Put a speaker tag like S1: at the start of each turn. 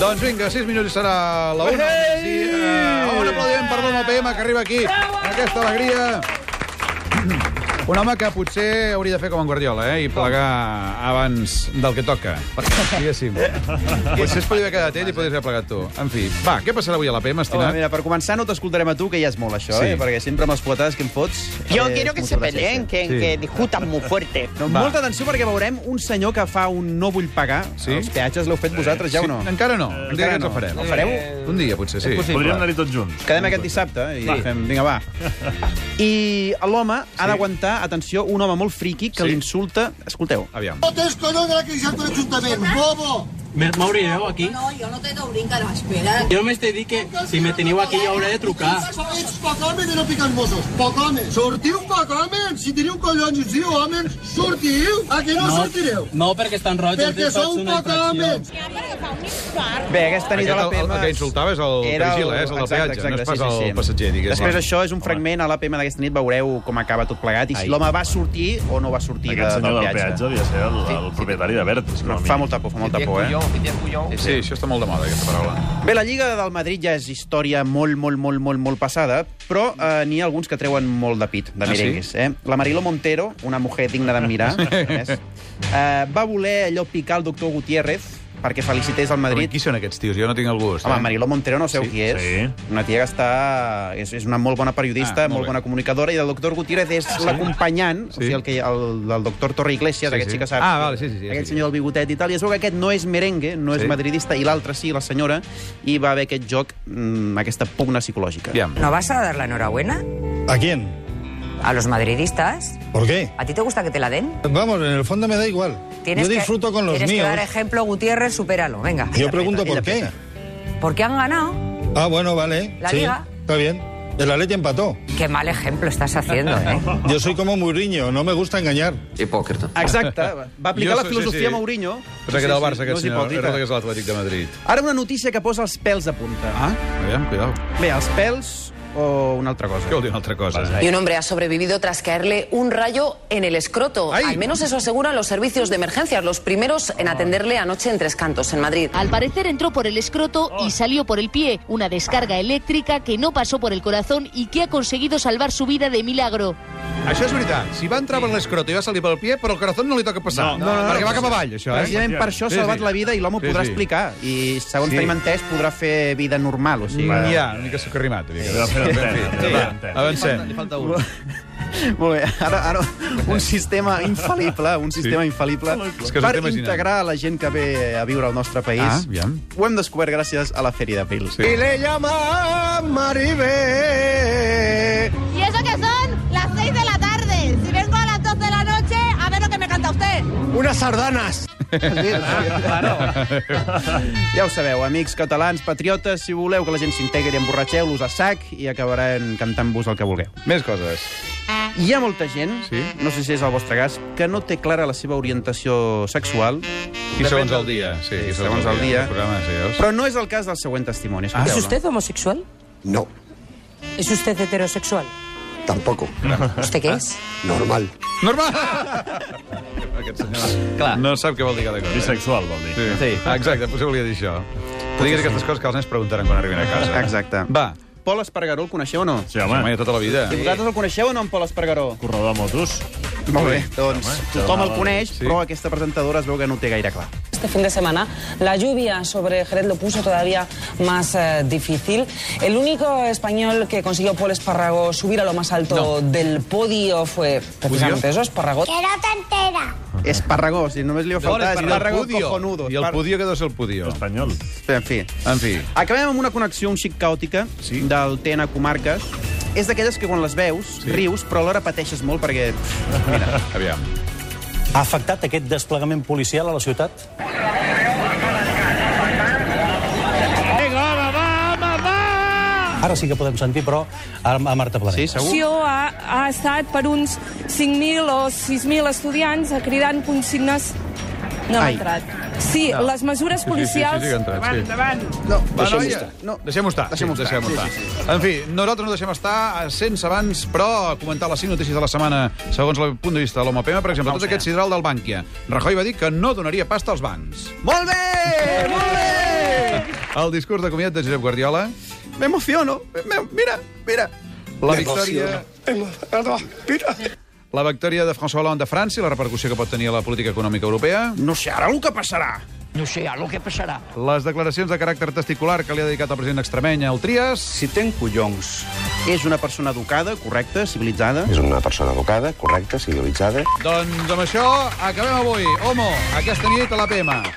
S1: Doncs vinga, 6 minuts i serà la 1.
S2: Ei!
S1: Sí, eh, un aplaudiment per l'home PM que arriba aquí amb aquesta alegria. Un home que potser hauria de fer com en Guardiola, eh? I plegar abans del que toca, diguéssim. Potser es podria haver quedat ell i podries haver plegat tu. En fi, va, què passarà avui a la PM,
S2: Home,
S1: Estinat?
S2: mira, per començar no t'escoltarem a tu, que ja és molt això,
S1: Sí.
S2: eh? Perquè sempre amb les poetades que em fots...
S3: Yo
S2: eh,
S3: quiero que
S2: és
S3: se
S2: molta gràcia,
S3: peleen,
S2: això.
S3: que,
S1: Sí.
S3: que discutan muy fuerte.
S2: No,
S1: Va.
S2: molta atenció perquè veurem un senyor que fa un no vull pagar.
S1: Sí? Eh,
S2: Els peatges l'heu fet vosaltres, ja o no?
S1: Sí, encara no. Un dia que
S2: Encara
S1: ens
S2: no.
S1: el farem. Eh,
S2: El fareu?
S1: Un dia, potser, sí.
S4: Podríem anar-hi tots junts.
S2: Quedem aquest dissabte eh, i
S4: Va.
S2: fem... Vinga, va. I l'home ha d'aguantar, atenció, un home molt friqui que
S1: Sí.
S2: l'insulta... Escolteu.
S1: Aviam.
S5: Votes color de la creixent per l'Ajuntament, bobo!
S6: Me- Mauri, veu aquí?
S7: No, jo no t'he d'obrir encara, espera.
S6: Jo només t'he dit que si me teniu aquí jo hauré de trucar.
S5: Ets poc home de no picar els Mossos, poc home. Sortiu poc home, si teniu collons i si teniu home, sortiu, a que no, sortireu.
S6: No, perquè estan roig, els
S5: Perquè
S6: teus
S5: sou
S6: faig una
S5: poc
S6: infracció.
S5: homes.
S2: Bé, aquesta nit
S1: Aquest,
S2: a
S1: el, el,
S2: l'APM...
S1: el que insultava és el Virgil, eh? És el del peatge, no és pas el passatger, diguéssim.
S2: Després això és un fragment a l'APM d'aquesta nit, veureu com acaba tot plegat i si l'home va sortir o no va sortir de,
S4: Aquest
S2: del
S4: senyor del
S2: peatge.
S4: peatge devia ser el, el propietari de Vertis. com a
S2: Fa
S4: mínim.
S2: molta por, fa molta por, eh?
S1: Sí, això està molt de moda, aquesta paraula.
S2: Bé, la Lliga del Madrid ja és història molt, molt, molt, molt, molt passada, però eh, n'hi ha alguns que treuen molt de pit, de
S1: Ah, sí?
S2: merengues. Eh? La Marilo Montero, una mujer digna d'admirar, a més, eh, va voler allò picar el doctor Gutiérrez perquè felicités el
S1: Però
S2: Madrid.
S1: qui són aquests tios? Jo no tinc el gust.
S2: Home,
S1: eh?
S2: Mariló Montero no sé
S1: Sí,
S2: sí, qui és.
S4: sí.
S2: Una tia que està... És, és una molt bona
S1: Ah,
S2: periodista, ah,
S1: molt
S2: molt,
S1: bé.
S2: bona comunicadora, i el doctor Gutiérrez és l'acompanyant,
S1: Sí.
S2: o sigui, el, que, el, el doctor Torre
S1: Sí,
S2: Iglesias, sí, aquest
S1: sí.
S2: sí. que saps.
S1: Ah, vale, sí, sí, sí,
S2: Aquest
S1: sí.
S2: senyor del bigotet i tal. I es veu que aquest no és merengue, no és
S1: Sí.
S2: madridista, i l'altre sí, la senyora, i va haver aquest joc, mm, aquesta pugna psicològica.
S1: Aviam.
S8: ¿No vas a dar la enhorabuena
S9: ¿A quién?
S8: a los madridistas?
S9: ¿Por qué?
S8: ¿A ti te gusta que te la den?
S9: Vamos, en el fondo me da igual. Yo
S8: que-
S9: disfruto con los
S8: tienes
S9: míos.
S8: que dar ejemplo, Gutiérrez, supéralo, venga.
S9: Yo pregunto por qué.
S8: Porque han ganado.
S9: Ah, bueno, vale.
S8: La
S9: sí,
S8: Liga.
S9: Está bien. El Atleti empató.
S8: Qué mal ejemplo estás haciendo, ¿eh?
S9: Yo soy como Mourinho, no me gusta engañar.
S2: Exacte, va aplicar
S1: Jo
S2: la
S1: sé, sí,
S2: filosofia
S1: sí.
S2: Mourinho.
S1: Però s'ha quedat al Barça, aquest
S2: no és
S1: senyor.
S2: hipòcrita.
S1: Resulta que és l'Atlètic de Madrid.
S2: Ara una notícia que posa els pèls a punta.
S1: Ah, aviam, cuidao.
S2: Bé, els pèls o una altra cosa?
S1: Què vol dir una altra cosa?
S4: Vas,
S7: Y un hombre ha sobrevivido tras caerle un rayo en el escroto.
S1: ¡Ay!
S7: Al menos eso aseguran los servicios de emergencias, los primeros en atenderle anoche en Tres Cantos, en Madrid.
S10: Al parecer entró por el escroto y salió por el pie, una descarga eléctrica que no pasó por el corazón y que ha conseguido salvar su vida de milagro.
S1: Això és veritat. Si va entrar per l'escroto i va salir pel pie, però el corazón no li toca passar.
S4: No, no, no,
S1: perquè
S4: no,
S1: va cap avall, això, eh?
S2: Precisament per això ha
S1: Sí, sí.
S2: salvat la vida i l'home ho
S1: Sí,
S2: podrà
S1: sí.
S2: explicar. I segons
S1: Sí.
S2: tenim entès, podrà fer vida normal. O sigui,
S1: Ni ha, una mica socarrimat. una mica.
S4: Sí, va fer la pena,
S1: En fi,
S4: va fer la
S1: va,
S4: pena.
S1: Avancem.
S2: Molt bé, ara, ara un sistema infal·lible, un sistema infal·lible
S1: És que és un
S2: per
S1: tema genial.
S2: integrar a la gent que ve a viure al nostre país.
S1: Ah, aviam.
S2: Ho hem descobert gràcies a la Fèria d'Abril.
S1: Sí. I
S2: le llama Maribé.
S10: Y eso que son las 6 de la tarde. Si vengo a las 2 de la noche, a ver lo que me canta usted.
S2: Unes sardanes. Ja ho sabeu, amics catalans, patriotes, si voleu que la gent s'integri, emborratxeu-los a sac i acabaran cantant-vos el que vulgueu.
S1: Més coses.
S2: Hi ha molta gent,
S1: Sí?
S2: sí? no sé si és el vostre cas, que no té clara la seva orientació sexual,
S1: I segons el dia. Sí, i
S2: segons el dia.
S1: El programa, sí, veus?
S2: però no és el cas del següent testimoni.
S8: ¿Es
S2: Escolteu-lo.
S8: usted homosexual?
S5: No,
S8: ¿Es usted heterosexual?
S5: tampoco.
S8: ¿Usted qué es?
S5: Normal.
S1: Normal! Aquest senyor
S2: Clar.
S1: no sap què vol dir cada cosa. eh?
S4: Bisexual, vol dir.
S1: Sí. sí. Exacte, potser volia dir això. Tu digues aquestes coses que els nens preguntaran quan arribin a casa.
S2: Exacte.
S1: Va.
S2: Pol Espargaró, el coneixeu o no?
S4: Sí,
S1: Home,
S4: home,
S1: de tota la vida.
S2: I vosaltres el coneixeu o no, en Pol Espargaró?
S4: corredor de motos.
S2: Molt bé. Doncs
S4: Home,
S2: tothom el
S4: sí.
S2: coneix, però aquesta presentadora es veu que no ho té gaire clar.
S7: Este fin de semana la lluvia sobre Jerez lo puso todavía más eh, difícil. El único español que consiguió Paul Esparrago subir a lo más alto del podio fue precisamente eso, Esparrago.
S2: Esparragó, si només li va faltar... és Esparragó cojonudo.
S1: I el
S2: Espar-
S1: podio quedó ser el podio.
S4: Espanyol.
S2: En fi. eh,
S1: En fi.
S2: Acabem amb una connexió un xic caòtica sí. del TN Comarques. És d'aquelles que quan les veus, sí. rius, però alhora pateixes molt perquè... Mira,
S1: Aviam.
S6: Ha afectat aquest desplegament policial a la ciutat? Ara sí que podem sentir, però, a, a Marta
S2: sí,
S6: Planell.
S2: segur?
S10: ha, ha estat per uns 5.000 o 6.000 estudiants cridant consignes no
S2: Ai.
S10: entrat.
S3: Sí,
S1: No.
S3: les mesures
S1: Sí, sí, sí,
S3: policials...
S1: sí, sí que ha entrat, sí. No,
S2: Deixem-ho
S1: deixem-ho
S2: estar.
S1: No, deixem-ho estar.
S2: Deixem-ho
S1: sí,
S2: estar.
S1: Deixem
S2: Sí,
S1: estar.
S2: sí,
S1: En fi, nosaltres no deixem estar eh, sense abans, però comentar les 5 notícies de la setmana segons el punt de vista de l'home Pema. Per exemple,
S2: Vamos
S1: tot aquest sidral del Bànquia. Rajoy va dir que no donaria pasta als bancs.
S2: Molt bé, molt bé.
S1: El discurs de comiat de Josep Guardiola.
S2: Me emociono. Me- mira, mira.
S1: La victòria... La victòria de François Hollande a França i la repercussió que pot tenir a la política econòmica europea.
S2: No sé ara el que passarà.
S6: No sé, a lo que passarà.
S1: Les declaracions de caràcter testicular que li ha dedicat el president extremeny al Trias.
S2: Si tenc collons. És una persona educada, correcta, civilitzada.
S11: És una persona educada, correcta, civilitzada,
S1: Doncs amb això acabem avui. Homo, aquesta nit a la PM.